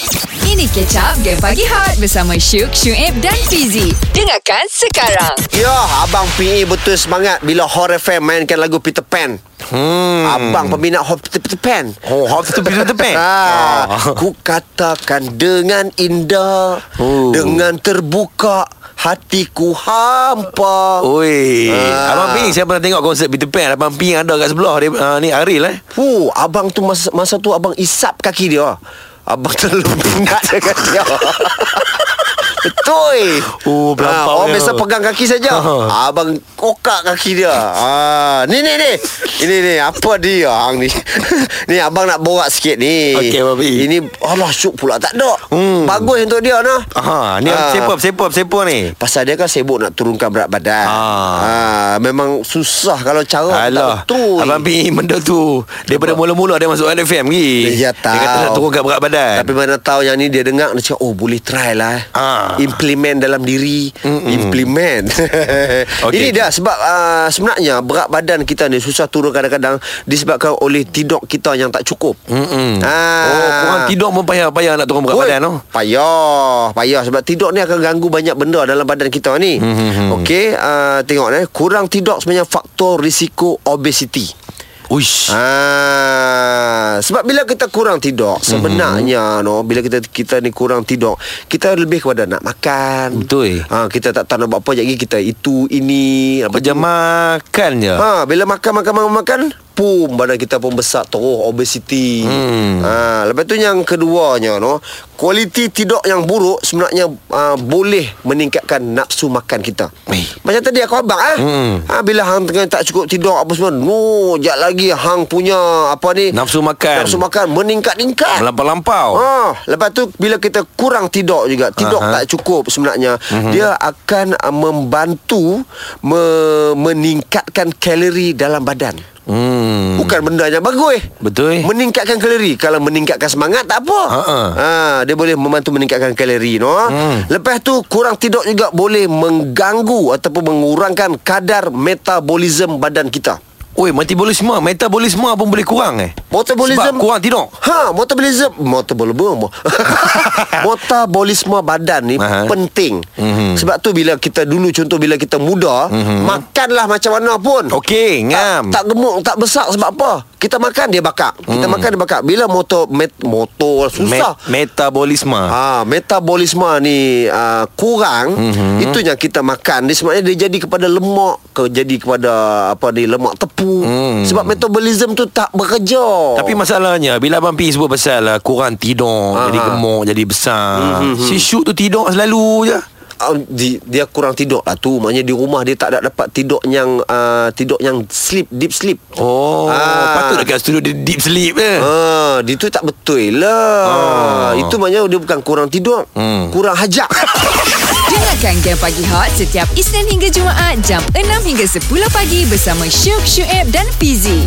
Mari catch up Game Pagi Hot Bersama Syuk, Syuib dan Fizi Dengarkan sekarang Ya, Abang PE betul semangat bila Horror FM mainkan lagu Peter Pan. Hmm. Abang peminat Hop Peter, Peter Pan. Oh, Hop Peter- Peter Pan? Ha, ku katakan dengan indah, Oh. dengan terbuka, hatiku hampa. Oh. Oi, Ah. Abang Ping saya pernah tengok konsert Peter Pan Abang Ping ada kat sebelah dia, uh, Ni Aril eh Hu, abang tu masa, masa tu abang isap kaki dia. Abang terlalu penat dengan dia. Betul. Ah, Oh, berlampau orang dia. biasa pegang kaki saja. Ha. Abang kokak kaki dia. Ah, ni ni ni. Ini ni apa dia hang ni? ni abang nak borak sikit ni. Okey, Babi. Ini alah syuk pula tak ada. Hmm. Bagus untuk dia nah. Aha, Ni uh. Ah. siapa, siapa, siapa ni Pasal dia kan sibuk nak turunkan berat badan. Ah. Ah, memang susah kalau Oh, cara Alah tak betul. Abang Ping benda tu Daripada mula-mula dia masuk LFM lagi Ya tahu Dia kata nak turunkan berat badan Tapi mana tahu yang ni dia dengar Dia cakap oh boleh try lah eh. Ah. Implement dalam diri Mm-mm. Implement okay. Ini dah sebab uh, Sebenarnya berat badan kita ni Susah turun kadang-kadang Disebabkan oleh tidur kita yang tak cukup Mm-mm. Ah. Oh, korang tidur pun payah-payah nak turun berat Oi, badan tu Payah Payah sebab tidur ni akan ganggu banyak benda dalam badan kita ni hmm. Okey uh, Tengok eh Kurang tidur sebenarnya faktor risiko obesity Uish Ah, sebab bila kita kurang tidur sebenarnya mm-hmm. no bila kita kita ni kurang tidur kita lebih kepada nak makan. Betul. Ah kita tak tahu nak buat apa jadi kita itu ini apa Kerja makan je Ha bila makan makan makan makan pum badan kita pun besar terus obesity. Hmm. Ha lepas tu yang keduanya no kualiti tidur yang buruk sebenarnya uh, boleh meningkatkan nafsu makan kita. Eh. Macam tadi aku abang ah. Hmm. Ha bila hang tengah tak cukup tidur apa semua no jap lagi hang punya apa ni Nafsu makan. Ah. Nafsu makan meningkat-ningkat. Melampau-lampau Ha, lepas tu bila kita kurang tidur juga, tidur Aha. Mhm. uh-huh. tak cukup sebenarnya, uh-huh. dia akan uh, membantu me- meningkatkan kalori dalam badan. hmm. Bukan benda yang bagus. Betul. eh? Meningkatkan kalori. Kalau meningkatkan semangat tak apa. Ha-ha. Ha, dia boleh membantu meningkatkan kalori no. Hmm. Lepas tu kurang tidur juga boleh mengganggu ataupun mengurangkan kadar metabolisme badan kita. Oi, metabolisme, metabolisme pun boleh kurang eh. Metabolism- Sebab kurang tidur. Ha, metabolism metabolism. metabolisme badan ni Aha. penting. Mhm. Sebab tu bila kita dulu contoh bila kita muda, makanlah macam mana pun. Okey, ngam. Tak gemuk, tak besar sebab apa? Kita makan dia bakar. Mhm. Kita makan dia bakar. Bila motor met, motor susah. Me- metabolisme. Ha. Ah, metabolisme ni uh, kurang Mhm. mm-hmm. itu yang kita makan dia sebenarnya dia jadi kepada lemak ke jadi kepada apa ni lemak tepu Hmm. sebab metabolism tu tak bekerja Tapi masalahnya Bila Abang Pi sebut pasal uh, Kurang tidur Ha, Jadi ha. gemuk Jadi Hmm, besar Si Syuk tu tidur selalu je Ah, di, dia kurang tidur lah tu maknanya di rumah dia tak ada dapat tidur yang uh, tidur yang sleep deep sleep Oh Ah. Patut dekat studio Dia deep sleep eh. Ah, dia tu tak betul lah. Ah. Itu maknanya dia bukan kurang tidur, Hmm. kurang hajak. Dengarkan Game Pagi Hot Setiap Isnin hingga Jumaat Jam 6 hingga 10 pagi Bersama Syuk, Syuib dan Fizi